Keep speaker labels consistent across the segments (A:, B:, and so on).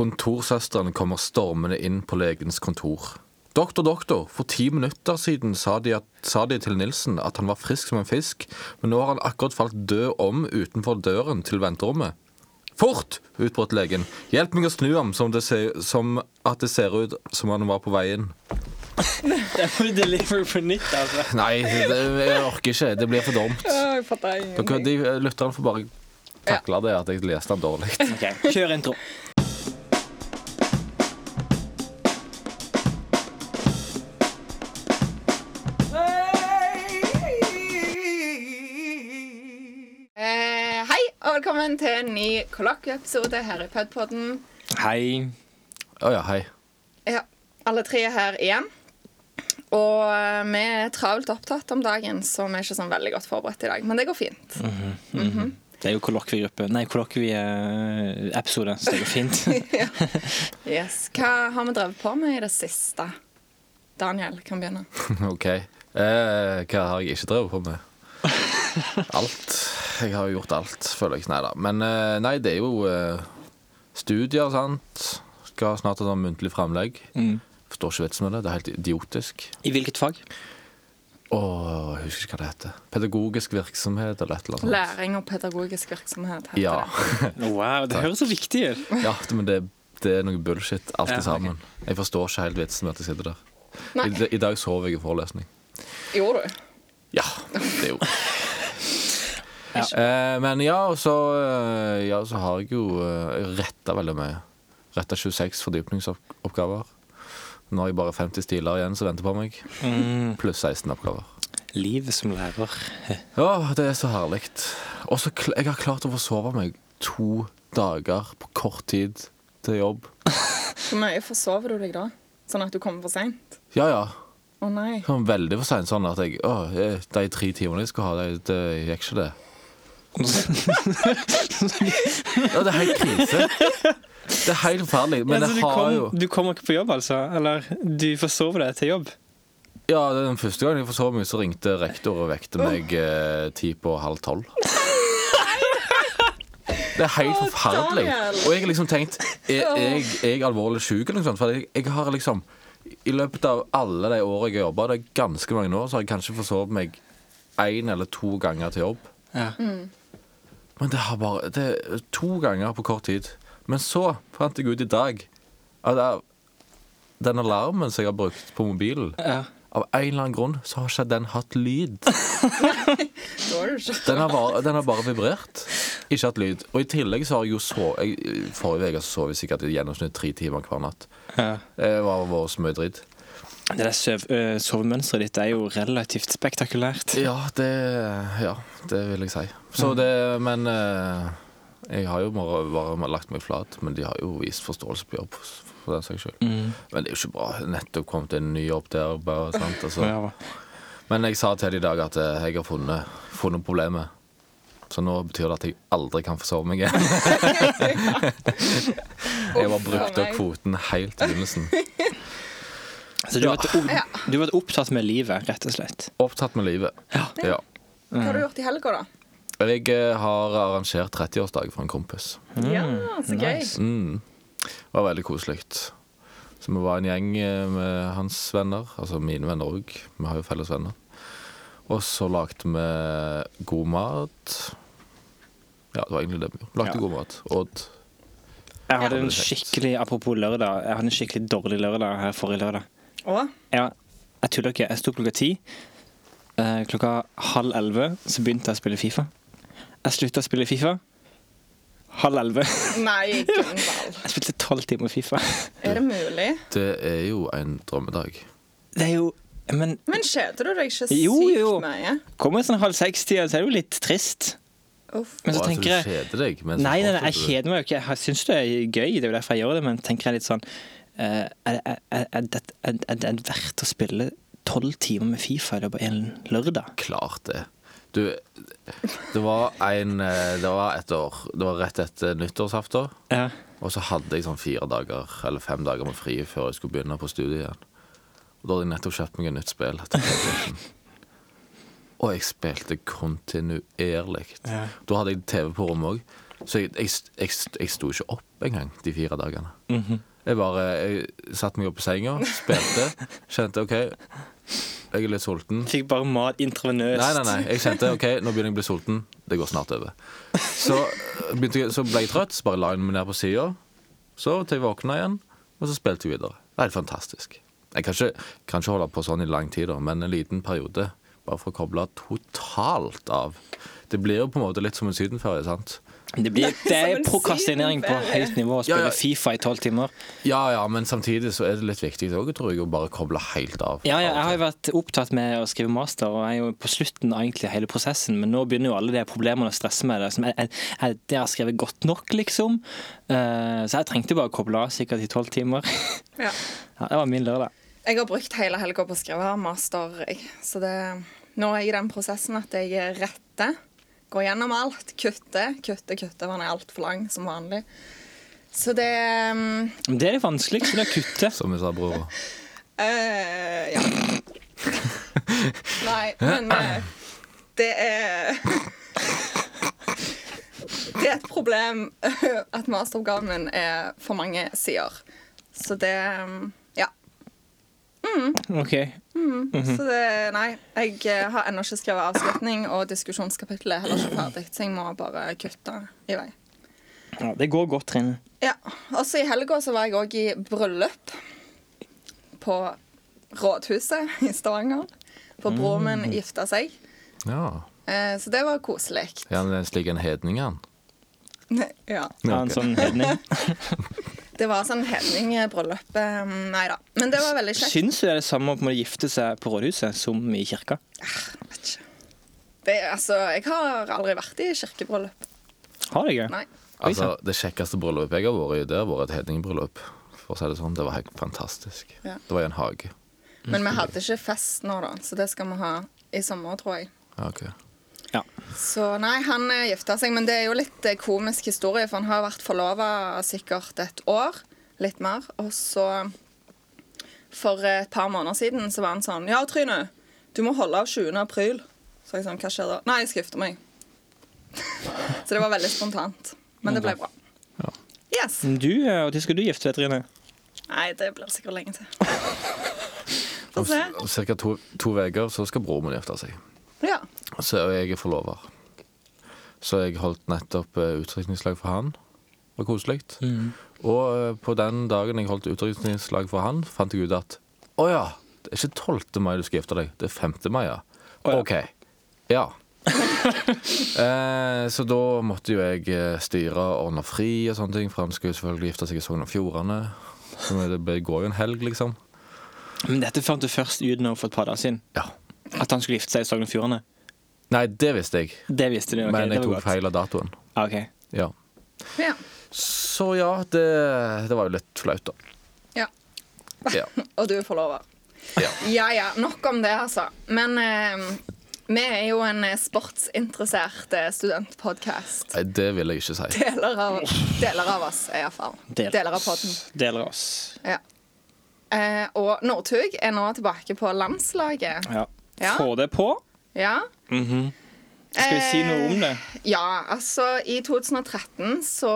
A: Kontorsøsteren kommer stormende inn på legens kontor. Doktor, doktor, for ti minutter siden sa de, at, sa de til Nilsen at han var frisk som en fisk, men nå har han akkurat falt død om utenfor døren til venterommet. Fort! utbrøt legen. Hjelp meg å snu ham, som, det ser, som at det ser ut som han var på vei inn.
B: Det må vi deliver på nytt, altså.
A: Nei, det, jeg orker ikke. Det blir for dumt.
C: Å, jeg fatter
A: Dere,
C: ingenting.
A: de eh, Lytterne får bare takle det at jeg leste den dårlig.
B: Ok, Kjør intro.
C: Eh, hei, og velkommen til en ny kollokvieepisode her i Pudpodden.
B: Hei.
A: Å ja, hei.
C: Ja, alle tre er her igjen. Og eh, vi er travelt opptatt om dagen, så vi er ikke sånn veldig godt forberedt i dag. Men det går fint.
B: Mhm. Det er jo kollokviegruppe Nei, kollokvieepisode, så det går fint.
C: Yes. Hva har vi drevet på med i det siste? Daniel kan begynne.
A: OK. Eh, hva har jeg ikke drevet på med? Alt. Jeg har jo gjort alt, føler jeg. Nei da. Men eh, nei, det er jo eh, studier, sant. Skal snart ha sånn muntlig framlegg.
C: Mm.
A: Forstår ikke vitsen med det. Det er helt idiotisk.
B: I hvilket fag?
A: Åh, jeg husker ikke hva det heter. Pedagogisk virksomhet eller et eller annet. sånt.
C: Læring og pedagogisk virksomhet. heter
A: Ja.
C: det.
B: Wow, det høres så viktig ut.
A: ja, men det, det er noe bullshit, alt
B: Ja,
A: i sammen. Jeg forstår ikke helt vitsen med at jeg sitter der.
C: Nei.
A: I, I dag sover jeg i forelesning.
C: Gjorde du?
A: Ja, det er jo Eh, Men ja, og så, eh, ja, så har jeg jo eh, retta veldig mye. Retta 26 fordypningsoppgaver. Nå har jeg bare 50 stiler igjen som venter på meg, pluss 16 oppgaver.
B: Livet Mm, som lærer.
A: Ja, det er så herlig. Og så kl- jeg har klart å forsove meg to dager på kort tid til jobb.
C: Hvor mye forsover du deg da? Sånn at du kommer for seint?
A: Ja, ja.
C: Å nei.
A: Sånn veldig for seint. Sånn at jeg Å, eh, de tre timene jeg skulle ha, det, det gikk ikke, det. Ja, det er helt krise. Det er helt forferdelig. Men
B: Altså,
A: jeg
B: du,
A: har
B: kom,
A: jo
B: du kommer ikke på jobb, altså? Eller du forsov deg til jobb?
A: Ja, det er den første gangen jeg forsov meg, så ringte rektor og vekte meg eh, ti på halv tolv. Det er helt
C: Å,
A: forferdelig.
C: Daniel.
A: Og jeg har liksom tenkt Er er jeg, er jeg alvorlig syk eller noe sånt? For jeg, jeg har liksom I løpet av alle de årene jeg har jobba, det er ganske mange år, så har jeg kanskje forsovet meg én eller to ganger til jobb.
B: Ja.
A: Men det har bare det, er To ganger på kort tid. Men så fant jeg ut i dag at jeg, den alarmen som jeg har brukt på mobilen
B: ja.
A: av en eller annen grunn så har ikke den hatt lyd.
C: Da er du ikke
A: Den har bare, den har bare vibrert. Ikke hatt lyd. Og i tillegg så har jeg jo sovet jeg- Forrige uke så sov jeg sikkert i gjennomsnitt tre timer hver natt.
B: ja.
A: Det var var så mye dritt.
B: Det der søv, øh, sovemønsteret ditt er jo relativt spektakulært.
A: Ja, det Ja, det vil jeg si. Så det Men eh, jeg har jo bare, bare lagt meg flat, men de har jo vist forståelse på jobb. For den saks skyld.
B: Mm.
A: Men det er jo ikke bra. Nettopp kommet en ny jobb der. Bare, sant? Altså.
B: Ja.
A: Men jeg sa til dem i dag at eh, jeg har funnet, funnet problemet. Så nå betyr det at jeg aldri kan forsove meg igjen. Jeg bare brukte opp kvoten helt i begynnelsen.
B: Så du har, vært, opp- du har vært opptatt med livet, rett og slett.
A: Opptatt med livet. Ja.
C: Hva har du gjort i helga, da?
A: Jeg eh, har arrangert 30-årsdag for en kompis.
C: Ja, så gøy.
A: Mm. Det var veldig koselig. Så vi var en gjeng eh, med hans venner, altså mine venner òg. Vi har jo felles venner. Og så lagde vi god mat. Ja, det var egentlig det vi gjorde. Lagde
B: Ja.
A: god mat. Åt
B: Jeg hadde
A: Ja.
B: en skikkelig apropos lørdag, jeg hadde en skikkelig dårlig lørdag her forrige lørdag.
C: Og
B: Jeg, jeg tuller ikke. Jeg sto klokka ti. Eh, klokka halv elleve så begynte jeg å spille Fifa. Jeg slutta å spille Fifa halv elleve.
C: Nei, Gunnvald.
B: Jeg spilte tolv timer Fifa.
C: Er det mulig?
A: Det er jo en drømmedag.
B: Det er jo Men
C: Men kjeder du deg ikke sykt
B: Jo, jo.
C: mye?
B: kommer sånn halv seks-tida, så er det jo litt trist.
C: Uff.
B: Men så
A: Og at
B: tenker jeg
A: Du kjeder deg. men så
B: Nei, nei, nei, jeg
A: fortsetter du.
B: kjeder meg jo ikke. Jeg syns det er gøy, det er jo derfor jeg gjør det, men tenker jeg litt sånn eh, Er er- er- er det er- er det verdt å spille tolv timer med Fifa i løpet av en lørdag?
A: Klart det. Du, det var en eh, Det var et år. Det var rett etter nyttårsaften.
B: Ja.
A: Og så hadde jeg sånn fire dager eller fem dager med fri før jeg skulle begynne på studiet igjen. Og da hadde jeg nettopp kjøpt meg et nytt spill. til PlayStation. Og jeg spilte kontinuerlig.
B: Ja.
A: Da hadde jeg TV på rommet òg. Så jeg, jeg, jeg, jeg sto ikke opp engang de fire dagene. Jeg bare jeg satte meg opp på senga, spilte, kjente OK, jeg er litt sulten.
B: Fikk bare mat intravenøst.
A: Nei, nei, nei. Jeg kjente OK, nå begynner jeg å bli sulten. Det går snart over. Så, eh, begynte jeg, så ble jeg trøtt, så bare la jeg meg ned på sida. Så til jeg våkna igjen, og så spilte jeg videre. Det er helt fantastisk. Jeg kan ikke, kan ikke holde på sånn i lang tid, da, men en liten periode. Bare for å koble totalt av. Det blir jo på en måte litt som en sydenferie, sant?
B: Det, blir, det
C: Som
B: er
C: en
B: prokrastinering på
C: sydenferie.
B: høyt nivå å
A: Ja, ja.
B: spille Fifa i tolv timer.
A: Ja ja, men samtidig så er det litt viktig òg, tror jeg, å bare koble helt av.
B: Ja, ja, jeg har jo vært opptatt med å skrive master, og jeg er jo på slutten av egentlig hele prosessen, men nå begynner jo alle de problemene å stresse med det. Som er, er, er det jeg har skrevet godt nok, liksom? Eh, så jeg trengte bare å koble av sikkert i tolv timer.
C: Ja.
B: ja, det var min lørdag.
C: Jeg har brukt hele helga på å skrive master, jeg. Så det, nå er jeg i den prosessen at jeg retter. Går gjennom alt. Kutter, kutter, kutter. Den er altfor lang, som vanlig. Så det mm,
B: Men Det er det vanskeligste, det å kutte.
A: Som jeg sa, bror.
C: eh, Ja. Nei, men eh, det er Det er et problem at masteroppgaven min er for mange sider. Så det mm, Ja.
B: Ok.
C: Så det, nei, jeg eh, har ennå ikke skrevet avslutning, og diskusjonskapitlet er heller ikke ferdig, så jeg må bare kutte i vei.
B: Ja, det går godt, Trine.
C: Ja, også i helga så var jeg òg i bryllup på Rådhuset i Stavanger. For broren min gifta seg,
A: Ja.
C: Eh, så det var koselig.
A: Er han en slik en hedning, han?
C: Ja.
B: Ja, en
A: ok.
B: sånn hedning.
C: Det var sånn hedningbryllup. Nei da. Men det var veldig kjekt.
B: Syns du det er det samme å på en måte gifte seg på rådhuset som i kirka?
C: Vet ikke. Det, er altså, jeg har aldri vært i kirkebryllup.
B: Har jeg det?
C: Nei.
A: Altså, det kjekkeste bryllupet jeg har vært i, det har vært et hedningbryllup. For å si det sånn, det var helt fantastisk.
C: Ja.
A: Det var i en hage.
C: Men vi hadde ikke fest nå, da, så det skal vi ha i sommer, tror jeg.
A: Ja, ok.
B: Ja.
C: Så nei, han eh, gifta seg, men det er jo litt eh, komisk historie, for han har vært forlova sikkert et år, litt mer, og så For et par måneder siden så var han sånn Ja, Trine, du må holde av 20. april. Så jeg sånn, hva skjer da? Nei, jeg skal gifte meg. så det var veldig spontant. Men det ble bra. Yes.
B: Du, eh, og til skal du gifte deg, Trine?
C: Nei, det blir sikkert lenge til. Få se.
A: Om ca. to to uker så skal broren min gifte seg.
C: Ja.
A: Så og jeg er forlover. Så jeg holdt nettopp eh, utdrikningslag for han. Det var koselig.
B: Mm.
A: Og eh, på den dagen jeg holdt utdrikningslag for han, fant jeg ut at å ja, det er ikke 12. mai du skal gifte deg, det er 5. mai, ja.
B: ja.
A: OK. Ja. eh, så da måtte jo jeg eh, styre og ordne fri og sånne ting, for han skulle jo selvfølgelig gifte seg i Sogn og Fjordane. Så det ble- går jo en helg, liksom.
B: Men dette fant du først ut nå for et par dager siden.
A: Ja.
B: At han skulle gifte seg i Sogn og Fjordane.
A: Nei, det visste jeg,
B: Det visste du. ok,
A: men
B: det
A: jeg
B: var
A: tok
B: godt.
A: feil av datoen.
B: Ah, ok.
A: Ja.
C: ja.
A: Så ja, det, det var jo litt flaut, da.
C: ja.
A: Ja.
C: Og du er forlover.
A: Ja.
C: Ja ja, nok om det, altså. Men eh, vi er jo en eh, sportsinteressert eh, studentpodkast.
A: Nei, det vil jeg ikke si.
C: Deler, av- deler av oss, er iallfall.
B: Del-
C: Deler av podden.
B: Deler av oss.
C: Ja. Eh, og Northug er nå tilbake på landslaget.
B: Ja.
C: Ja.
B: Få det på.
C: Ja.
B: Skal vi si noe
C: Eh.
B: om det?
C: ja, altså I 2013 så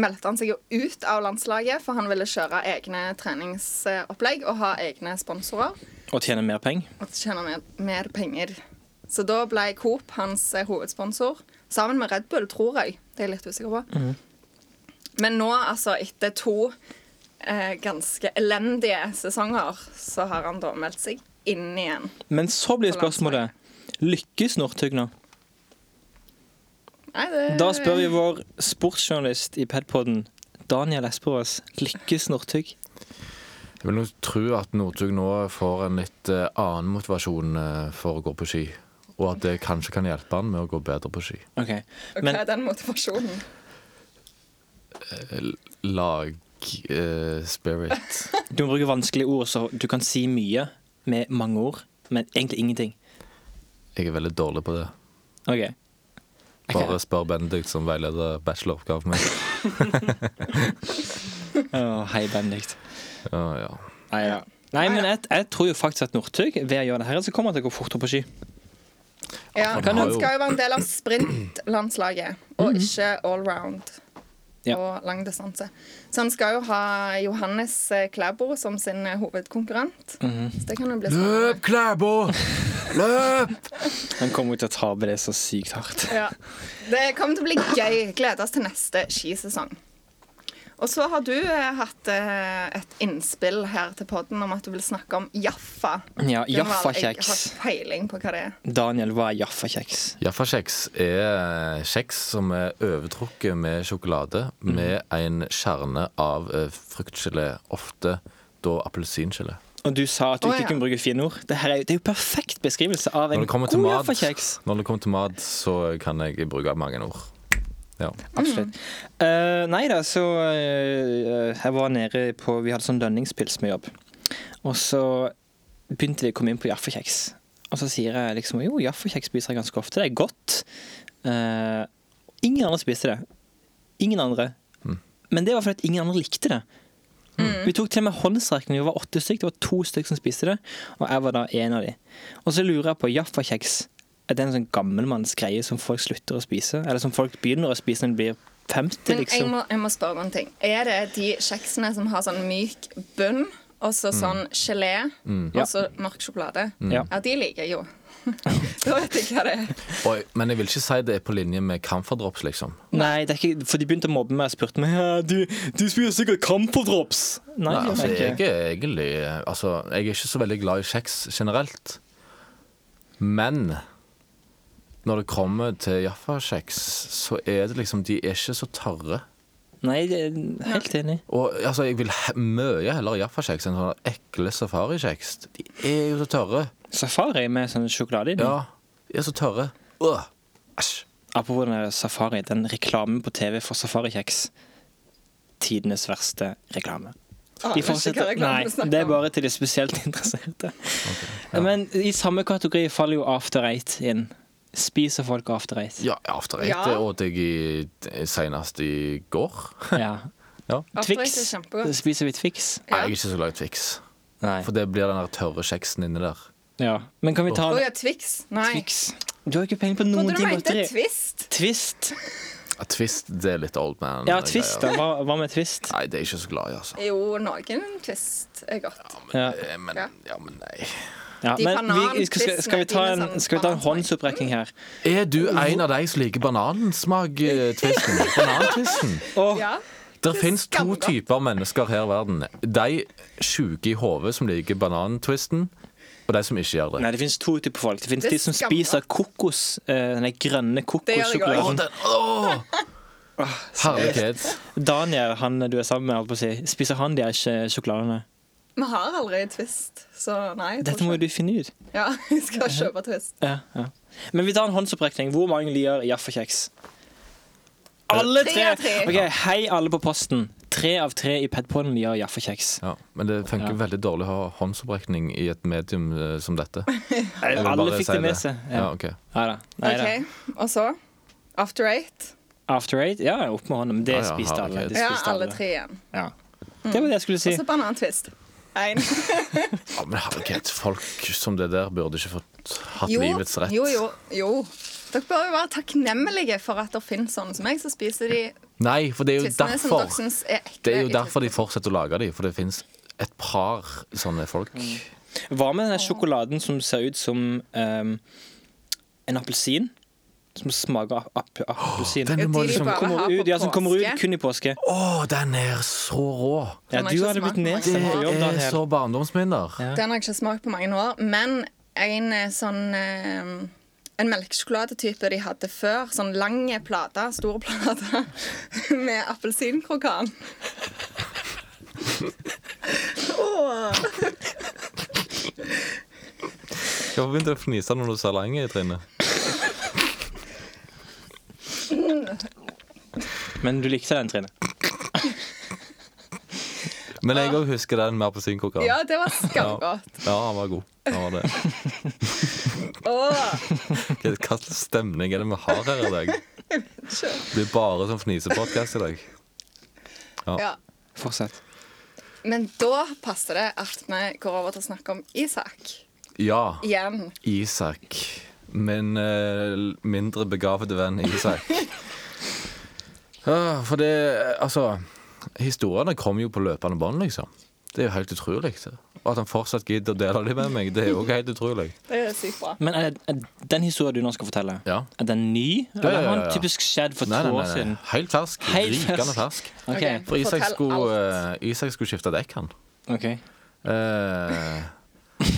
C: meldte han seg jo ut av landslaget, for han ville kjøre egne treningsopplegg og ha egne sponsorer.
B: Og tjene mer penger?
C: at de tjener mer, mer penger. Så da ble Coop hans eh, hovedsponsor, sammen med Red Bull, tror jeg. Det er jeg litt usikker på.
B: Mhm.
C: Men nå, altså, etter to eh, ganske elendige sesonger, så har han da meldt seg inn igjen.
B: Men så blir
C: På
B: spørsmålet Lykkes Northug nå?
C: Nei, det,
B: Da spør vi vår sportsjournalist i Padpodden, Daniel Esperås, lykkes Northug?
A: Jeg vil nok tro at Northug nå får en litt eh, annen motivasjon eh, for å gå på ski. Og at det kanskje kan hjelpe han med å gå bedre på ski.
B: OK.
C: Og
B: Men
C: Hva er den motivasjonen?
A: Lag eh, spirit.
B: du må bruke vanskelige ord, så du kan si mye med mange ord, men egentlig ingenting.
A: Jeg er veldig dårlig på det.
B: OK. Ok.
A: Bare spør Benedikt, som veileder bacheloroppgaven min.
B: Å, hei, Benedikt.
A: Ja, ja.
B: Nei, ja. Nei, men jeg, jeg tror jo faktisk at Northug, ved å gjøre det her, så kommer han til å gå fortere på ski.
C: Ja,
A: Han har
C: han
A: jo- Mhm.
C: skal jo være en del av sprintlandslaget, og ikke allround
B: Ja.
C: og langdistanse. Så han skal jo ha Johannes eh, Klæbo som sin eh, hovedkonkurrent. Så det kan jo bli spennende.
A: Mhm. Løp, Klæbo! Løp!
B: Han kommer jo til å tape det så sykt hardt.
C: Ja. Det kommer til å bli gøy. Gleder oss til neste skisesong. Og så har du eh, hatt eh, et innspill her til podden om at du vil snakke om Jaffa.
B: Ja,
C: Gunvald, Jeg
B: Jaffa-kjeks.
C: har peiling på hva det er.
B: Daniel, hva er Jaffa-kjeks?
A: Jaffakjeks er eh, kjeks som er overtrukket med sjokolade
B: Mhm.
A: med en kjerne av eh, fruktgelé, ofte da appelsingelé.
B: Og du sa at du
C: Å,
B: ikke
C: ja.
B: kunne bruke fine ord. Det, her er, jo- det er jo perfekt beskrivelse av en
A: Når det kommer
B: god
A: til mat,
B: Jaffa-kjeks.
A: når det kommer til mat, så kan jeg bruke mange ord. Ja.
C: Mm.
B: Absolutt. Eh, nei da, så eh, Jeg var nede på Vi hadde sånn lønningspils med jobb. Og så begynte de å komme inn på jaffekjeks. Og så sier jeg liksom jo, jaffekjeks spiser jeg ganske ofte. Det er godt. Eh, ingen andre spiste det. Ingen andre. Men det var fordi at ingen andre likte det.
C: Mm.
B: Vi tok til og med håndstrekning. Vi var åtte stykk. Det var to stykk som spiste det, og jeg var da en av de. Og så lurer jeg på Jaffa-kjeks. Er det en sånn gammelmannsgreie som folk slutter å spise? Eller som folk begynner å spise når de blir 50,
C: Men jeg
B: liksom?
C: må, jeg må spørre om en ting. Er det de kjeksene som har sånn myk bunn, og så sånn gelé, og
B: Mm. Ja. Mm.
C: så mørk sjokolade?
B: Ja.
C: Ja, de liker jeg jo. da vet jeg hva det er.
A: Oi, men jeg vil ikke si det er på linje med camferdrops, liksom.
B: Nei, det er ikke, for de begynte å mobbe meg og spurte meg ja, du, du spiser sikkert Campodrops. Nei,
A: Nei, altså,
B: det gjør
A: jeg
B: jeg ikke.
A: er egentlig Altså, jeg er ikke så veldig glad i kjeks generelt. Men når det kommer til Jaffa-kjeks, så er det liksom De er ikke så tørre.
B: Nei, det er helt enig.
A: Og altså, jeg vil he mye heller Jaffa-kjeks enn sånne ekle safarikjeks. De er jo så tørre.
B: Safari med sånn sjokolade i den.
A: Ja, de er så tørre. Øh, Æsj.
B: Apropos den der Safari, den reklamen på TV for Safari-kjeks. Tidenes verste reklame.
C: Ah,
B: De
C: jeg vet ikke
B: fortsetter-
C: hva reklamen
B: nei,
C: snakker
B: det er
C: om.
B: bare til de spesielt interesserte. Men i samme kategori faller jo After Eight inn. Spiser folk After Eight?
A: Ja, After Eight
C: Ja.
A: det åt jeg i- eh, senest i går.
B: Ja.
A: Ja.
C: After Eight
B: Twix?
C: er kjempegodt.
B: Spiser vi Twix?
A: Nei, jeg er ikke så glad i Twix.
B: Nei.
A: For det blir den der tørre kjeksen inni der.
B: Ja. Men kan vi ta
C: Å
B: en
C: ja, Twix. Nei.
B: Twix? Du har ikke peiling på noen
C: Trodde du
B: ting.
C: mente
B: godteri.
C: Twist?
B: Twist?
A: Ja, Twist, det er litt old man.
B: Ja, Twist, da. Hva, hva med Twist?
A: Nei, det er jeg ikke så glad i, altså.
C: Jo, noen Twist er godt.
B: Ja.
A: Eh, Men,
C: Ja.
A: ja, men nei.
B: Ja,
C: De
B: men vi, skal, skal, skal vi ta
C: bananspissene, de
B: en,
C: med
B: skal vi ta en
C: sånn
B: håndsopprekning her?
A: Er du en av de som liker eh, banansmak-twisten? Banantvisten?
B: Åh,
C: Ja.
A: Det
C: Det
A: finnes to
C: skammer.
A: typer mennesker her i verden. De sjuke i hodet som liker banantvisten, og de som ikke gjør det.
B: Nei, det finnes to typer folk. Det finnes
C: Det
B: de som
C: skammer.
B: spiser kokos, eh, den der grønne
C: jeg
A: Å,
C: også.
B: kokossjokoladen.
A: den, åh! Herlighet.
B: Daniel, han du er sammen med, holdt på å si, spiser han de her sj- sjokoladene?
C: Vi har aldri Twist, så nei. jeg tror
B: Dette må
C: ikke.
B: jo du finne ut.
C: Ja, jeg skal kjøpe Twist.
B: Ja, ja. Men vi tar en håndsopprekning. Hvor mange liker Jaffa-kjeks? Alle
C: Tre
B: tre!
C: av tre.
B: Ok, Hei, alle på posten. Tre av tre i Padpoden liker Jaffa-kjeks.
A: Ja, men det funker
B: Ja.
A: veldig dårlig å ha håndsopprekning i et medium eh, som dette. Jeg vil
B: Alle
A: bare
B: fikk
A: si
B: det med seg.
A: Ja,
B: Ja.
A: ok.
B: Neida. Neida.
C: OK, og så? After Eight?
B: After eight? Ja, opp med hånda. Men det
A: Ja, ja,
B: spiste alle.
A: herregud.
B: Det
C: Ja,
B: spiste
C: alle tre igjen.
B: Ja. Det var det jeg skulle si.
C: Og så banantwist. En.
A: Ja, men herlighet, folk som det der burde ikke fått hatt
C: Jo,
A: livets rett.
C: jo, jo, jo. Dere bør jo være takknemlige for at det finnes sånne som meg, så spiser de
A: Nei, for det er jo
C: tvistene som dere
A: derfor.
C: syns er ekle.
A: Det er jo
C: i
A: derfor de
C: tvisten.
A: fortsetter å lage de, for det finnes et par sånne folk.
C: Mm.
B: Hva med den der sjokoladen som ser ut som ehm, en appelsin? Som smaker ap ap appelsin.
A: den må
C: de
A: liksom-
C: bare
B: Kommer
C: har på
B: ut, ja, som kommer ut
C: påske.
B: kun i påske.
A: Å, den er så rå!
B: Ja,
C: Den har
B: du
C: ikke
B: hadde
C: smakt
B: blitt
C: mange
B: nedstemt på
C: år.
B: jobb,
A: Det er
B: Daniel.
A: så barndomsminner.
B: Ja.
C: Den har jeg ikke smakt på mange år. Men en eh, sånn eh, En melkesjokoladetype de hadde før. Sånn lang plate, stor plate, med appelsinkrokan. Åh.
A: Hvorfor begynte du å fnise når du sa lange, Trine?
B: Men du likte den, Trine.
A: Men jeg òg husker den med appelsinkoker.
C: Ja, det var skamgodt.
A: Ja, han var god. Han var det.
C: Åh.
A: Hva slags stemning er det vi har her i dag? Det er bare sånn fnisepodkast i dag.
C: Ja.
B: Fortsett.
C: Men da passer det at vi går over til å snakke om Isak
A: Ja,
C: igjen.
A: Isak. min eh, mindre begavede venn Isak. Ah, for det Altså, historiene kommer jo på løpende bånd, liksom. Det er jo helt utrolig. Og at han fortsatt gidder å dele dem med meg, det er jo også helt utrolig.
C: Det er sykt bra.
B: Men er, er den historien du nå skal fortelle,
A: Ja.
B: er den ny?
A: ja,
B: Eller
A: ja,
B: har
A: ja.
B: den typisk skjedd for
A: Nei,
B: to
A: nei, nei,
B: år
A: nei.
B: siden?
A: Helt fersk.
B: Helt
A: Rikende fersk.
B: fersk. Ok,
C: Ok.
A: For Isak
C: Fortell
A: skulle, eh, Isak skulle skifte dekk, han.
B: ok.
A: Eh,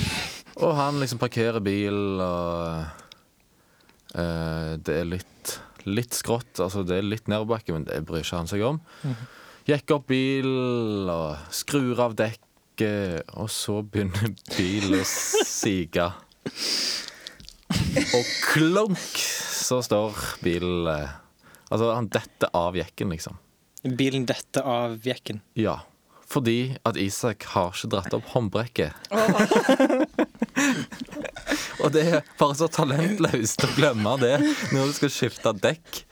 A: og han liksom parkerer bil, og eh, det er litt, litt skrått. Altså, det er litt nedoverbakke, men det bryr ikke han seg om. Jekker opp bil og skrur av dekket, og så begynner bilen å sige. Og klunk, så står bilen eh, Altså, han detter av jekken, liksom.
B: Bilen detter av jekken.
A: Ja. Fordi at Isak har ikke dratt opp håndbrekket. Og det er bare så talentløst å glemme det når du skal skifte dekk.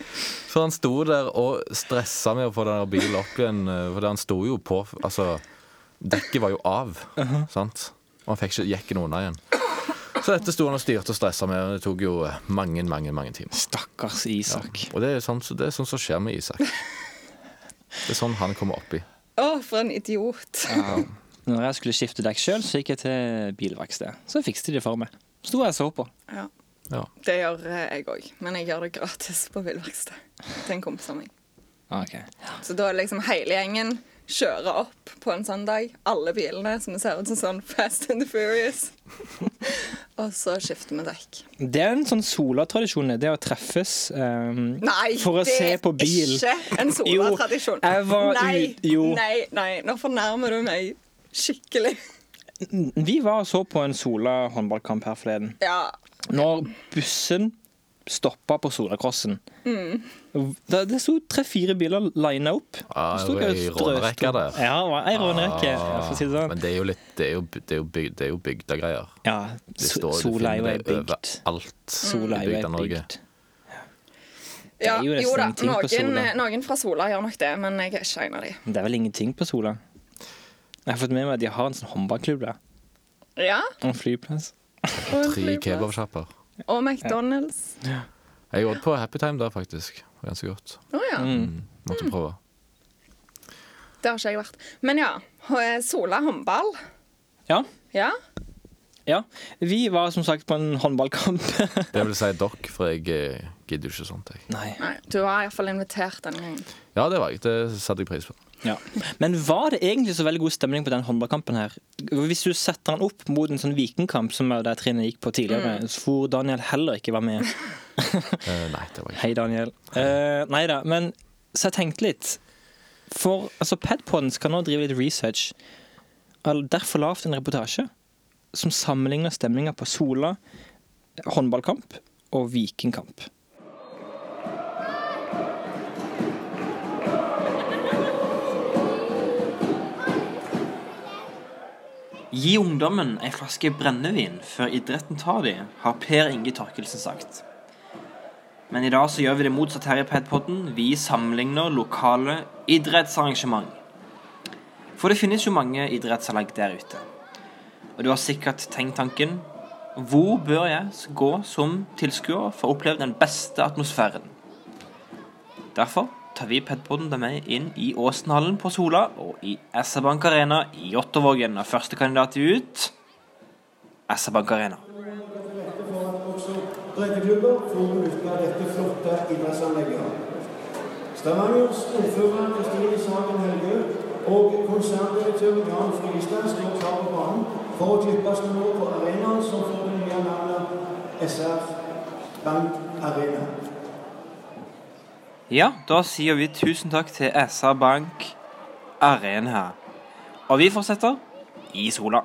A: For han sto der og stressa med å få den der bilen opp igjen, eh, for han sto jo på Altså, dekket var jo av, sant? Og han fikk ikke jekken unna igjen. Så dette sto han og styrte og stressa med, og det tok jo eh, mange, mange, mange timer.
B: Stakkars Isak.
A: Og det er sånn det er sånn som skjer med Isak. Det er sånn han kommer opp i.
C: Å, for en idiot.
B: Når jeg skulle skifte dekk sjøl, så gikk jeg til bilverkstedet. Så fikste de det for meg. Sto jeg og så på.
C: Ja,
A: Ja.
C: det gjør eh, jeg òg, men jeg gjør det gratis på bilverksted til en kompis av meg.
B: Ah, Ok.
C: Så da er det liksom hele gjengen kjører opp på en søndag, alle bilene som det ser ut som sånn Fast and the Furious. Og så skifter vi dekk.
B: Det er en sånn Sola-tradisjon, det å treffes ehm,
C: Nei,
B: for å
C: det
B: se
C: er
B: på bil.
C: ikke en solatradisjon.
B: Jo, jeg var
C: Nei,
B: ut- jo.
C: nei, nei, nå fornærmer du meg skikkelig.
B: Vi var og så på en Sola-håndballkamp her forleden.
C: Ja,
B: Når bussen stoppa på Solacrossen
C: Mm.
B: da, Det sto tre-fire biler lina opp.
A: Ja,
B: Så sto
A: det var
B: jeg og
A: ei rånerekke
B: strøste.
A: der. Ah,
B: Ja, det var ei rånerekke, for å si det sånn.
A: Men det er jo litt Det er jo, det er jo, byg, det er jo bygdegreier.
B: Ja,
A: Det står- du
B: Sola er jo
A: finner
B: ei
A: det
B: bygd.
A: Overalt i
B: Sola er jo ei
A: bygda Norge.
B: bygd.
C: ja
B: er jo nesten
C: jo da,
B: ingenting på
C: noen,
B: Sola.
C: noen fra Sola gjør nok det, men jeg er ikke en av de.
B: Men Det er vel ingenting på Sola? Jeg har fått med meg at de har en sånn håndballklubb der.
C: Ja,
B: Og en flyplass.
C: og en
A: Tre
C: flyplass.
A: kebabsjapper.
C: Og McDonald's.
A: Jeg åt på Happy Time der, faktisk. Det var Ganske godt. Mm,
C: Å ja.
D: Mm.
B: Mm.
A: Måtte prøve.
C: Det har ikke jeg vært. Men ja, eh, Sola håndball.
B: Ja,
C: Ja.
B: ja. Vi var som sagt på en håndballkamp.
A: Det vil si dere, for jeg eh, gidder jo ikke sånt, jeg.
B: Nei.
C: Nei, du var iallfall invitert denne gangen.
A: Ja, det var jeg. Det satte jeg pris på.
B: Ja. Men var det egentlig så veldig god stemning på den håndballkampen her? Hvis du setter den opp mot en sånn vikingkamp som er der Trine gikk på tidligere, hvor Daniel heller ikke var med.
A: Eh, nei, det var jeg ikke.
B: Hei, Daniel. Uh, nei da, men så jeg tenkte litt. For altså, Padpoden skal nå drive litt research. Al- Derfor lavt en reportasje som sammenligner stemninga på Sola, håndballkamp og vikingkamp. Gi ungdommen ei flaske brennevin før idretten tar de, har Per Inge Torkelsen sagt. Men i dag så gjør vi det motsatt her i Padpodden. Vi sammenligner lokale idrettsarrangement. For det finnes jo mange idrettsanlegg der ute. Og du har sikkert tenkt tanken Hvor bør jeg gå som tilskuer for å oppleve den beste atmosfæren? Derfor tar vi Padpodden deg med inn i Åsenhallen på Sola og i SR-Bank Arena i Jåttåvågen. Og første kandidat ut SR-Bank Arena.
E: breddeklubber for å nytte dette flotte idrettsanlegget. Stavangers ordfører Kristine Sagen Helgø og konserndirektør Jan Frigestad står klar på banen for å klippes nå på arenaen som får det nye navnet SR Bank Arena.
F: Ja, da sier vi tusen takk til SR Bank Arena her. Og vi fortsetter i sola.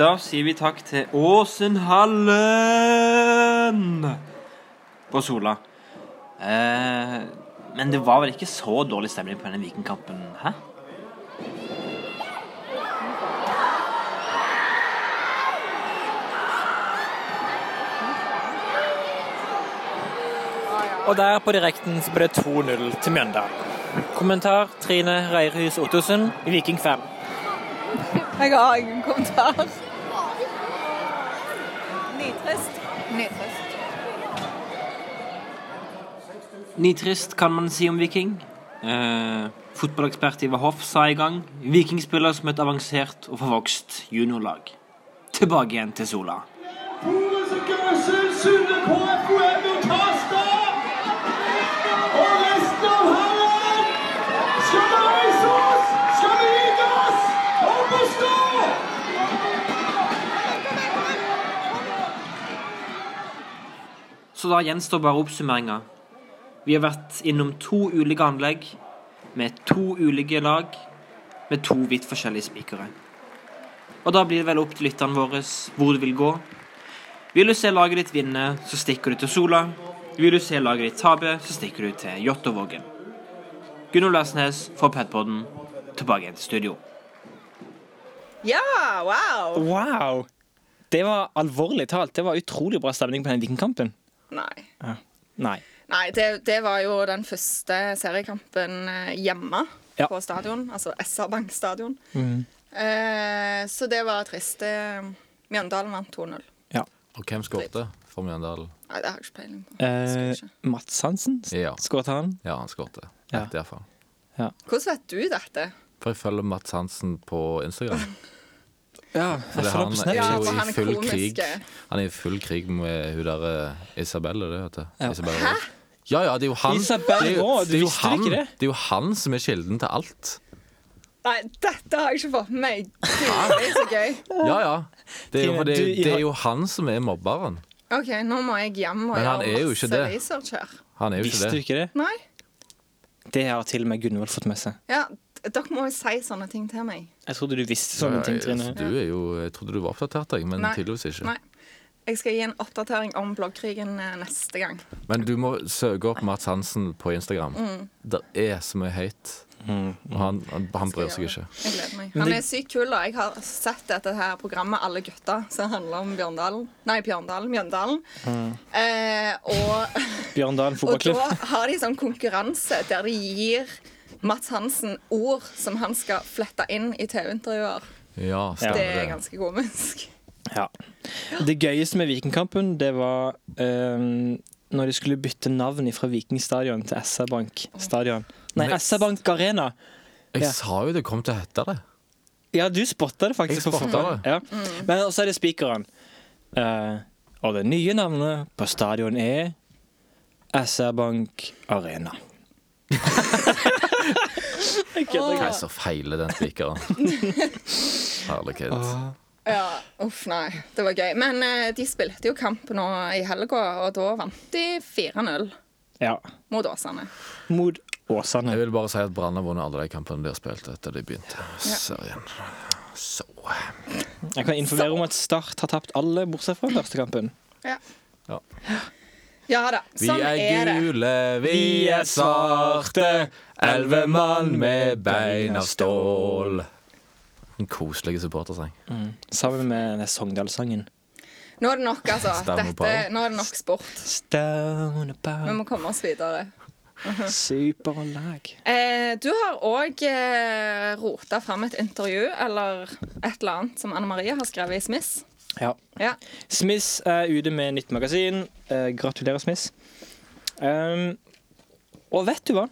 F: Da sier vi takk til Åsenhallen på Sola. Eh, men det var vel ikke så dårlig stemning på denne Vikingkampen, hæ?
G: Og der på direkten så ble det 2-0 til Mjøndalen. Kommentar Trine Reirhus Ottosen, Viking 5.
D: Jeg har ingen kommentar. Nitrist.
C: Nitrist.
F: Nitrist kan man si om Viking. Eh, fotballekspert Ivar Hoff sa i gang Vikingspiller som et avansert og forvokst juniorlag. Tilbake igjen til Sola.
H: Boris og Gøsel, Sunde KFUM og Kasta! er Og resten av hallen! Skal vi reise oss? Skal vi gi oss? Og bestå!
F: Så da gjenstår bare oppsummeringa. Vi har vært innom to ulike anlegg, med to ulike lag, med to vidt forskjellige spikere. Og da blir det vel opp til lytterne våre hvor det vil gå. Vil du se laget ditt vinne, så stikker du til Sola. Vil du se laget ditt tape, så stikker du til Jåttåvågen. Gunnar Larsnes fra Padpodden tilbake igjen til studio.
C: Ja, wow!
B: Wow! Det var alvorlig talt. Det var utrolig bra stemning på den vikingkampen.
C: Nei.
B: Nei.
C: Nei, det, det var jo den første seriekampen eh, hjemme
B: Ja.
C: på stadion. Altså SR Bank stadion.
D: Mm.
C: Eh, så det var trist. Eh, Mjøndalen vant 2-0. Nei,
A: Og hvem skårte for Mjøndalen?
C: det har jeg ikke peiling på.
B: Eh,
C: Skal ikke.
B: Mats Hansen s-
A: Ja.
B: skåret han.
A: Ja, han skårte.
B: Ja.
A: Rett i hvert fall.
C: Hvordan vet du dette?
A: For jeg følger Mats Hansen på Instagram.
B: Ja,
A: For det, han eh, er
C: Ja,
A: jo
C: for han
A: i
C: er
A: full
C: komiske.
A: krig Han er i full krig med hun der eh, Isabelle, det heter
B: Ja.
A: Isabelle Roth. Ja, ja, det er jo han
B: Isabelle
A: det er jo-
B: Roth,
A: det er jo
B: visste du
A: han-
B: ikke det?
A: Det er jo han som er kilden til alt.
C: Nei, dette har jeg ikke fått med meg. Gud, Det er så gøy.
A: Ja, ja. Det er jo,
B: Tine,
A: fordi,
B: du-
A: det er jo han som er mobberen.
C: OK, nå må jeg hjem og
A: Men han er
C: gjøre
A: jo ikke
C: masse
A: det.
C: research her.
A: Han er jo
B: Visste
A: ikke
B: du
A: det.
B: ikke det?
C: Nei?
B: Det har til og med Gunvald fått med seg.
C: Ja, d- dere må jo si sånne ting til meg.
B: Jeg trodde du visste sånne ting,
A: Ja,
B: Trine.
A: altså, du er jo, jeg trodde du var oppdatert, jeg, men
C: Nei.
A: tydeligvis ikke.
C: Nei. Jeg skal gi en oppdatering om bloggkrigen eh, neste gang.
A: Men du må søke opp Mats Hansen på Instagram.
C: Mm.
A: Det er så mye hate.
B: Mm,
A: Og han, han, han bryr seg ikke.
C: Jeg gleder meg. Han er sykt kul, og jeg har sett dette her programmet Alle gutta, som handler om Bjørndalen Nei, Bjørndalen, Mjøndalen.
A: Mm.
C: Eh, og,
B: Bjørndalen
C: og da
B: fotballklubb.
C: har de sånn konkurranse der de gir Mats Hansen ord som han skal flette inn i TV-intervjuer.
A: Ja,
C: Det
A: stemmer
C: er
A: det.
C: ganske komisk.
B: Ja. Det gøyeste med Vikingkampen, det var ehm, når de skulle bytte navn fra Vikingstadion til SR Bank Stadion. Nei,
A: Men-
B: SR Bank Arena.
A: Jeg
B: Ja.
A: sa jo det kom til å hete det.
B: Ja, du spotta det
A: Jeg
B: faktisk. på
A: spotta
B: forhånd. Ja. Men også er det spikeren. Eh, og det nye navnet på stadion er SR Bank Arena.
A: Hva er det som feiler den spikeren? Herlighet.
C: Ja, uff, nei. Det var gøy. Men eh, de spilte jo kamp nå i helga, og da vant de 4-0
B: Ja.
C: mot Åsane.
B: Mot
A: Jeg
B: Åsane.
A: vil bare si at Brann har vunnet alle de kampene de har spilt etter de begynte serien. Så
B: Jeg kan informere om at Start har tapt alle bortsett fra første kampen.
C: Ja.
A: Ja.
C: Ja da.
A: Vi
C: Sånn
A: er
C: er det.
A: gule, vi er svarte, elleve mann med bein av stål. En koselig supportersang.
B: Sammen med den Sogndal-sangen.
C: Nå er det nok, altså.
A: Stemmer på.
C: Dette, nå er det nok sport.
B: Stone
C: Vi
B: about
C: må komme oss videre.
B: superlag.
C: Eh, du har òg eh, rota fram et intervju eller et eller annet som Anne Marie har skrevet i Smiss.
B: Ja.
C: Ja.
B: Smiss er ute med nytt magasin. Eh, gratulerer, Smiss. Ehm, og vet du hva?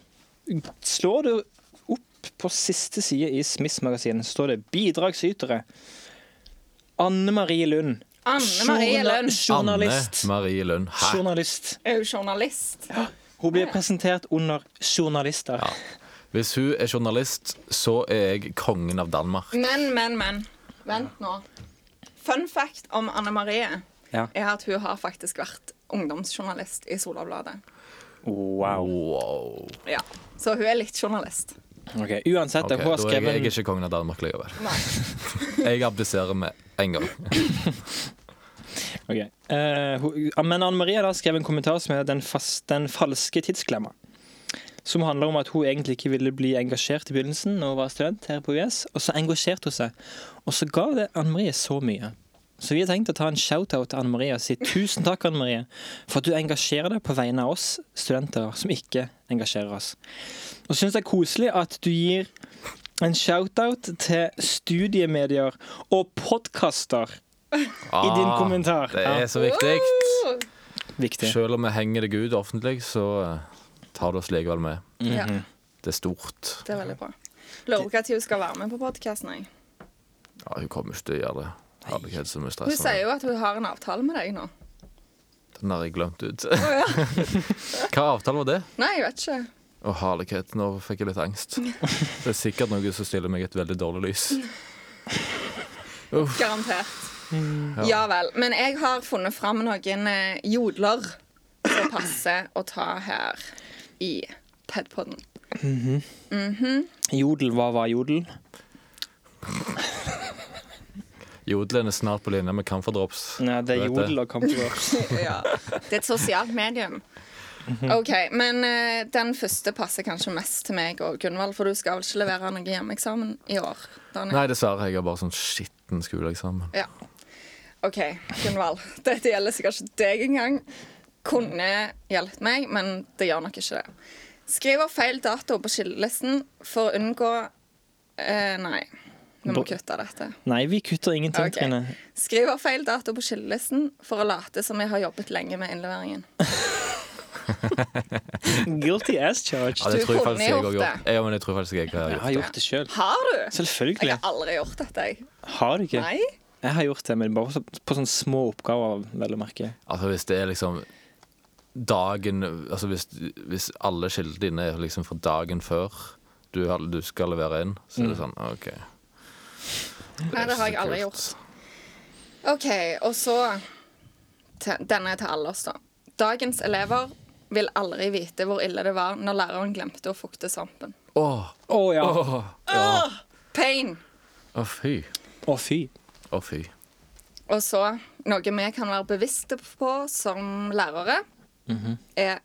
B: Slår du opp på siste side i Smiss-magasinet, så står det 'Bidragsytere'. Anne Marie Lund.
C: Anne Marie
B: Journa-
C: Lønn
B: Journalist.
A: Anne Marie Lund. Hæ?
B: Journalist.
C: er jo journalist.
B: Hun blir presentert under journalister.
A: Hvis hun er journalist, så er jeg kongen av Danmark.
C: Men, men, men. Vent nå. Fun fact om Anne Marie
B: Ja.
C: er at hun har faktisk vært ungdomsjournalist i Solabladet.
B: Wow.
A: Wow.
C: Ja. Så hun er litt journalist.
B: Ok, Uansett,
A: Ok,
B: jeg har
A: da er jeg, jeg er
B: skrevet
A: ikke kongen av Danmark likevel. jeg abdiserer med en gang.
B: Ok. Eh, hun- men Anne Marie har da skrevet en kommentar som er den, fas- den falske tidsklemma. Som handler om at hun egentlig ikke ville bli engasjert i begynnelsen når hun var student her på UiS, og så engasjerte hun seg. Og så ga det Anne Marie så mye. Så vi har tenkt å ta en shout-out til Anne Marie og si tusen takk, Anne Marie, for at du engasjerer deg på vegne av oss studenter som ikke engasjerer oss. Og syns det er koselig at du gir en shout-out til studiemedier og podkaster i din
A: Ah,
B: kommentar.
A: Det
B: Ja.
A: er så viktig.
C: Wow!
B: Viktig.
A: Selv om vi henger deg ut offentlig, så eh, tar du oss likevel med.
C: Ja,
A: Det er stort.
C: det er veldig bra. Lurer på når hun skal være med på podkasten.
A: Ja, hun kommer ikke til å gjøre det. Herlighet, så mye stress.
C: Hun sier jo at hun har en avtale med deg nå.
A: Den har jeg glemt ut. Hva avtale var det?
C: Nei, jeg vet ikke.
A: Å, herlighet, nå fikk jeg litt angst. Det er sikkert noe som stiller meg i et veldig dårlig lys.
C: Garantert. Ja vel. Men jeg har funnet fram noen eh, jodler som passer å ta her i E Padpodden.
B: Jodel, hva var jodel?
A: Jodelen er snart på linje med Camphordrops.
B: Nei, det
A: Du
B: er
A: vet
B: jodel og kampdrops.
C: Ja. Det er et sosialt medium. OK, men eh, den første passer kanskje mest til meg og Gunvald, for du skal vel ikke levere noe hjemmeeksamen i år? Daniel?
A: Nei, dessverre. Jeg har bare sånn skitten skoleeksamen.
C: Ja. OK, Gunvald. Dette gjelder sikkert ikke deg engang. Kunne hjulpet meg, men det gjør nok ikke det. Skriver feil dato på skillelisten for å unngå eh, Nei, vi må
B: Bo-
C: kutte dette.
B: Nei, vi kutter ingenting,
C: Ok.
B: Trine.
C: Skriver feil dato på skillelisten for å late som jeg har jobbet lenge med innleveringen.
B: Guilty as charged.
A: Ja, det
C: Du
A: tror jeg
C: kunne
A: faktisk jeg har
C: gjort
A: gjort. Ja, men jeg tror faktisk jeg har
B: Jeg
A: gjort
B: har gjort det sjøl.
C: Har du? Jeg
B: Selvfølgelig.
C: har aldri gjort dette, jeg.
B: Har du ikke?
C: Nei?
B: Jeg har gjort det, men bare på så- på sånne små oppgaver, vel å merke.
A: Altså, hvis det er liksom dagen Altså, hvis, hvis alle skiltene dine er liksom fra dagen før du, har, du skal levere inn, så er det sånn OK.
C: Mm. Nei, det har jeg aldri gjort. OK, og så til, Denne er til alle oss, da. Dagens elever vil aldri vite hvor ille det var når læreren glemte å fukte svampen.
A: Åh,
B: Å ja. Å
A: åh, ja.
C: Pain!
A: Å, fy.
B: fy.
A: Å, fy.
C: Og så noe vi kan være bevisste på som lærere, er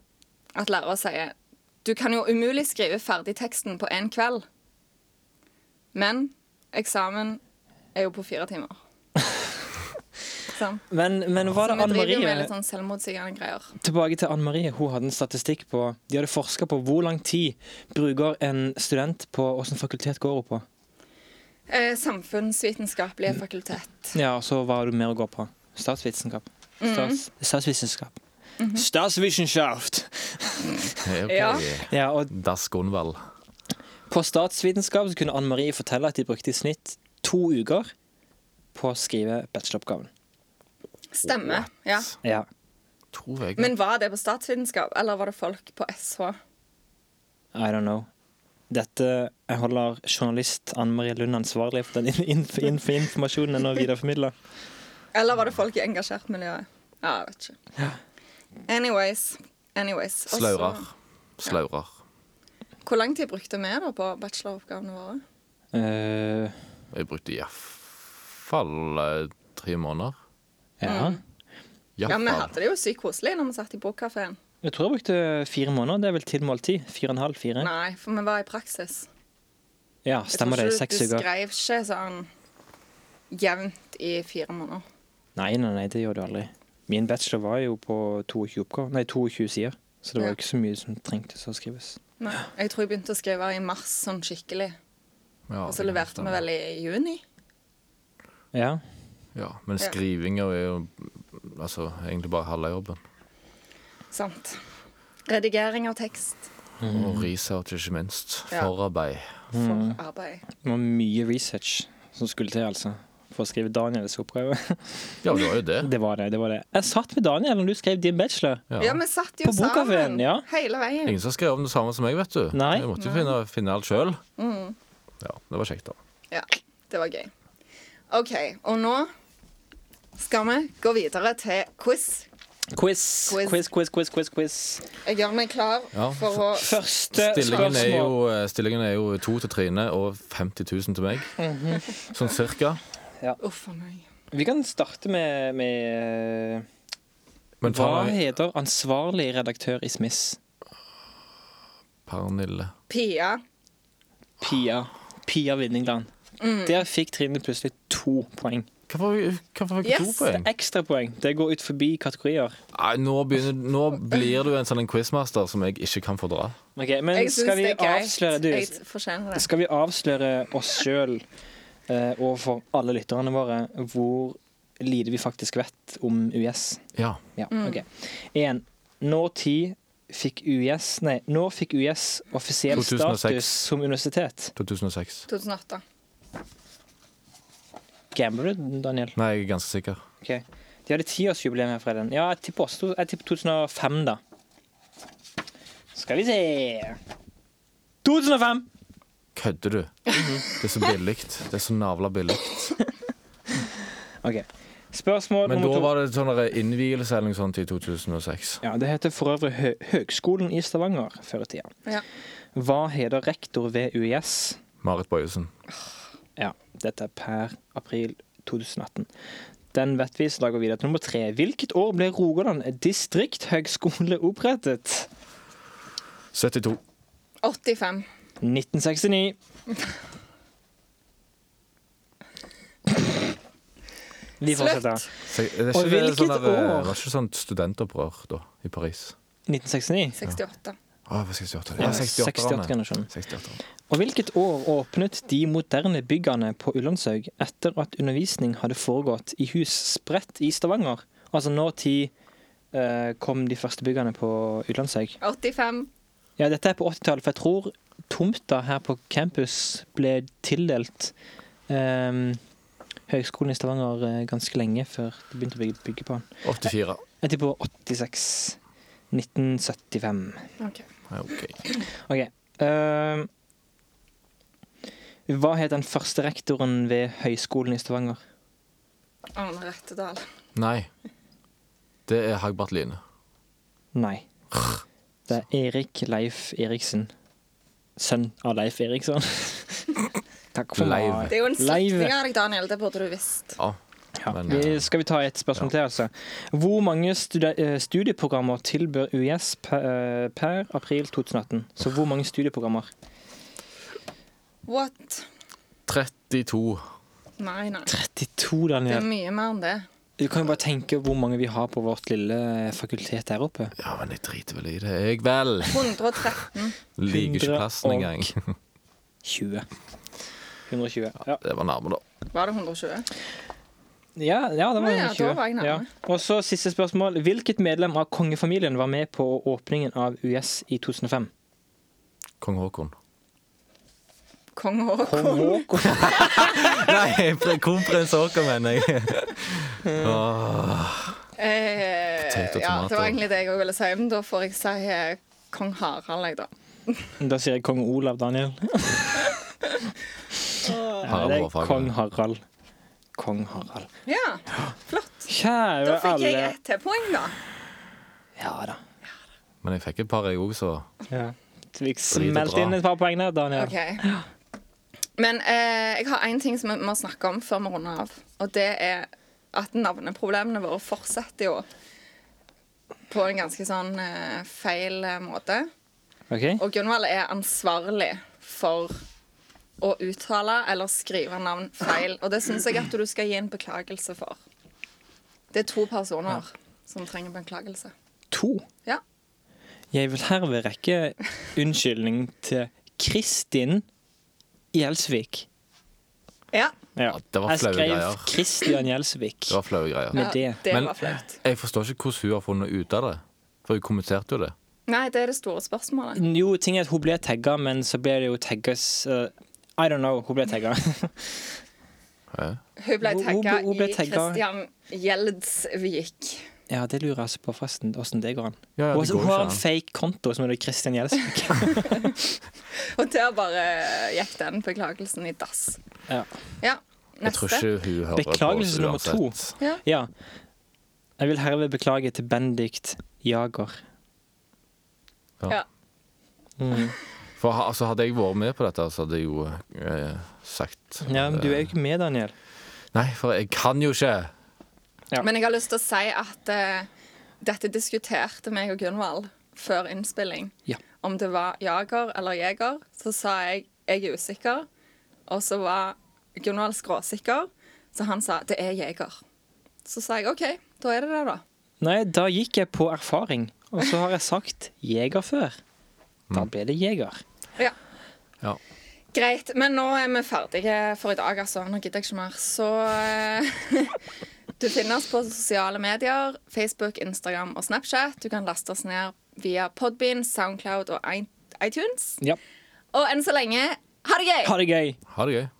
C: at lærere sier Du kan jo umulig skrive ferdig teksten på én kveld. Men eksamen er jo på fire timer. sånn.
B: Men, men var
C: Så
B: det
C: vi
B: Anne
C: driver jo med
B: Marie
C: litt sånn selvmotsigende greier.
B: Tilbake til Anne Marie. Hun hadde en statistikk på De hadde forska på hvor lang tid bruker en student på åssen fakultet går hun på.
C: Eh,
B: Mm.
C: samfunnsvitenskapelige fakultet.
B: Ja, og så hva har du mer å gå på? Statsvitenskap.
C: Mhm.
B: Stats, Statsvitenskap. Statsvitenskap!
A: Hey, ok.
C: Ja.
B: Ja, og
A: Das Gunvald.
B: På statsvitenskap så kunne Anne Marie fortelle at de brukte i snitt to uker på å skrive bacheloroppgaven.
C: Stemmer. Ja.
B: Ja.
A: Tror jeg.
C: Men var det på statsvitenskap, eller var det folk på SH?
B: I don't know. Dette jeg holder journalist Anne Marie Lund ansvarlig for den inf inf informasjonen jeg nå videreformidler.
C: Eller var det folk i engasjert miljø? Ja, jeg vet ikke. Anyways. anyways. Og så-
A: Slaurer. Slaurer.
C: Hvor lang tid brukte vi da på bacheloroppgavene våre?
B: Eh,
A: Jeg brukte iallfall eh, tre måneder.
B: ja.
A: I hvert
C: Ja, Vi
A: fall.
C: hadde det jo sykt koselig når vi satt i bokkafeen.
B: Jeg tror jeg brukte fire måneder. Det er vel tilmålt ti? Fire og en halv? Fire?
C: Nei, for vi var i praksis.
B: Ja,
C: Jeg
B: stemmer
C: tror
B: det.
C: ikke
B: Seks
C: Du
B: uker.
C: skrev ikke sånn jevnt i fire måneder.
B: Nei, nei, nei, det gjør du aldri. Min bachelor var jo på 22 oppgaver. Nei, 22 sider. Så det var
C: Ja.
B: jo ikke så mye som trengtes å skrives.
C: Nei, Jeg tror jeg begynte å skrive i mars sånn skikkelig.
A: Ja,
C: Og så leverte vi vel i juni.
B: Ja.
A: Ja, men skrivinga er jo altså, egentlig bare halve jobben.
C: Sant. Redigering av tekst
B: Mm.
A: Og research, ikke minst.
C: Ja.
A: Forarbeid.
C: for
A: Mm.
C: arbeid.
B: Det var mye research som skulle til, altså. For å skrive Daniels oppgave.
A: Ja, det var jo det.
B: Det var det. det var det. Jeg satt med Daniel når du skrev din bachelor.
A: Ja.
C: Ja, vi satt jo
B: På bokkafeen,
C: sammen
B: ja.
C: hele veien.
A: Ingen som skrev om det samme som meg, vet du.
B: Nei.
A: Jeg måtte jo finne, finne alt sjøl. Ja, det var kjekt, da.
C: Ja, det var gøy. OK, og nå skal vi gå videre til quiz.
B: Quiz,
C: Quiz.
B: quiz, quiz, quiz, quiz. quiz.
C: Jeg gjør meg klar
A: Ja,
C: for å
B: Første
A: Stillingen er,
B: spørsmål.
A: jo, eh, stillingen er jo to til Trine og 50 000 til meg.
B: Mhm.
A: Sånn cirka.
C: Uff a meg.
B: Vi kan starte med, med eh,
A: Men
B: Hva
A: ta
B: heter ansvarlig redaktør i Smiss?
A: Pernille.
C: Pia.
B: Pia. Pia Vinningland.
C: Mm.
B: Der fikk Trine plutselig to poeng.
A: Hvorfor hvorfor fikk jeg
C: Yes,
A: to poeng?
B: Ekstrapoeng. Det går ut forbi kategorier.
A: Nei, nå, begynner, nå blir du en sånn en quizmaster som jeg ikke kan fordra.
B: Ok, men
C: Jeg syns
B: skal vi
C: det er
B: avsløre
C: greit.
B: du,
C: Jeg fortjener det.
B: Skal vi avsløre oss sjøl eh, overfor alle lytterne våre hvor lite vi faktisk vet om UiS?
A: Ja.
B: Ja, ok. En, Når tid fikk UiS Nei, når fikk UiS offisiell
A: 2006.
B: status som universitet?
A: 2006.
C: 2008.
B: Gambler du, Daniel?
A: Nei, jeg er ganske sikker.
B: Ok. De hadde tiårsjubileum her forleden. Ja, jeg tipper, også, jeg tipper 2005, da. Skal vi se 2005!
A: Kødder du? Det er så billig. Det er så navla billig.
B: OK. Spørsmål
A: Men
B: nummer
A: da
B: to.
A: var det sånn der innvielse eller noe sånt i 2006.
B: Ja, Det heter for øvrig Hø Høgskolen i Stavanger før i tida.
C: Ja.
B: Hva heter rektor ved UiS?
A: Marit Bøyesen.
B: Ja, dette er per april 2018. Den vet vi, så da går vi videre til nummer tre. Hvilket år ble Rogaland distrikthøgskole opprettet?
A: 72.
C: 85.
B: 1969. Vi fortsetter.
A: Se- Er det
B: Og
A: ikke, det
B: hvilket
A: sånn der, eh,
B: år?
A: var det ikke sånt studentopprør da, i Paris?
B: 1969.
C: 68.
A: Å, hva skal jeg si? åtte?
B: Ja,
A: Ja, 68-erne.
B: 68-generasjonen.
A: 68
B: Og hvilket år åpnet de moderne byggene på Ullandshaug etter at undervisning hadde foregått i hus spredt i Stavanger? Altså når tid eh, kom de første byggene på Ullandshaug?
C: 85.
B: Ja, dette er på 80-tallet, for jeg tror tomta her på campus ble tildelt eh, Høgskolen i Stavanger eh, ganske lenge før de begynte å bygge, bygge på den.
A: 84.
B: Jeg tipper 86. 1975.
C: Ok.
A: Ja, ok.
B: Ok. ehm, hva het den første rektoren ved Høgskolen i Stavanger?
C: Arne Rettedal.
A: Nei. Det er Hagbart Line.
B: Nei. Det er Erik Leif Eriksen. Sønn av Leif Eriksson. Takk for
A: Leiv.
B: meg.
C: Det er jo en
B: Leiv.
C: slektning av deg, Daniel. Det burde du visst.
A: Ja.
B: Ja,
A: Men,
B: vi,
A: eh,
B: skal vi ta et spørsmål til, altså? Hvor mange stude- eh, studieprogrammer tilbød UiS per, eh, per april 2018? Så hvor mange studieprogrammer?
C: What?
A: 32.
C: Nei, nei.
B: 32,
C: Det er
B: Daniel.
C: mye mer enn det.
B: Du kan jo bare tenke hvor mange vi har på vårt lille fakultet der oppe.
A: Ja, men jeg driter vel i det. Jeg vel.
C: 113.
A: Liker ikke plassen
B: og-
A: engang.
B: 20. 120. Ja,
A: Det var nærme, da.
C: Var det 120?
B: ja, ja det var
C: Å ja,
B: 120.
C: da var jeg nærme.
B: Ja. Og så siste spørsmål. Hvilket medlem av kongefamilien var med på åpningen av US i 2005?
A: Kong Haakon.
C: Kong Haakon.
B: Håkon.
A: Nei, pre- kronprins Haakon, mener jeg. Åh,
C: Eh,
A: Potato,
C: ja, det
A: tomater.
C: var egentlig det jeg også ville si, men da får jeg si eh, kong Harald, jeg, da.
B: Da sier jeg kong Olav, Daniel. Ja, det
A: Harald var
B: er kong
A: faget.
B: Harald. Kong Harald.
C: Ja, flott. Da
B: Kjære
C: fikk jeg
B: alle.
C: ett til poeng, da.
B: Ja da.
A: Men jeg fikk et par, jeg òg, så
B: Ja. Vi
A: bra.
B: smelte inn et par poeng der, Daniel.
C: Ok. Men eh, jeg har én ting som vi må snakke om før vi runder av. Og det er at navneproblemene våre fortsetter jo på en ganske sånn eh, feil eh, måte.
B: Ok?
C: Og Gunvald er ansvarlig for å uttale eller skrive navn feil. Og det syns jeg at du skal gi en beklagelse for. Det er to personer som trenger beklagelse.
B: To.
C: Ja.
B: Jeg vil herved rekke unnskyldning til Kristin Gjelsvik.
C: Ja,
B: Ja,
A: det var flaue
B: Jeg
A: greier.
B: skrev Kristian Gjelsvik.
A: det var flaue greier.
B: Men
C: ja
B: det-
C: det
A: Men-
C: var flaut.
A: Jeg forstår ikke hvordan hun har funnet ut av det. For hun kommenterte jo det.
C: Nei, det er det store spørsmålet.
B: Jo, ting er at hun ble tagga, men så ble det jo tagges eh, I don't know, hun ble tagga.
A: Ja.
C: Hun ble
B: Hun- hun
C: tagga
B: ble- hun ble
C: i
B: tagget.
C: Christian Gjeldsvik.
B: ja, det lurer jeg altså på, forresten, åssen det går an.
A: Ja, ja, det
B: Hun-
A: går
B: hun
A: ikke
B: har
A: an.
B: en fake konto som heter Kristian Gjelsvik.
C: Og der bare gikk den beklagelsen i dass.
B: Ja.
C: Ja,
A: Jeg tror
C: neste.
A: ikke hun hører på oss
B: Beklagelse nummer to.
A: uansett.
C: Ja.
B: ja. Eh, Jeg vil herved beklage til Bendikt Jager.
C: Ja.
B: Mm.
A: For ha- altså, hadde jeg vært med på dette, så hadde jeg jo eh, sagt eh,
B: Ja, men du er jo ikke med, Daniel.
A: Nei, for jeg kan jo ikke!
B: Ja.
C: Men jeg har lyst til å si at eh, dette diskuterte meg og Gunvald før innspilling.
B: Ja.
C: Om det var Jager eller Jeger. Så sa jeg jeg er usikker, og så var Gunvald skråsikker, så han sa det er Jeger. Så sa jeg OK, da er det det, da.
B: Nei, da gikk jeg på erfaring, og så har jeg sagt jeger før. Da ble det jeger.
C: Ja.
A: Ja.
C: Greit, men nå er vi ferdige for i dag, altså. Nå gidder jeg ikke mer. Så eh, du finner oss på sosiale medier. Facebook, Instagram og Snapchat. Du kan laste oss ned via Podbean, Soundcloud og i- iTunes.
B: Ja.
C: Og enn så lenge, ha det gøy!
B: Ha det gøy!
A: Ha det gøy.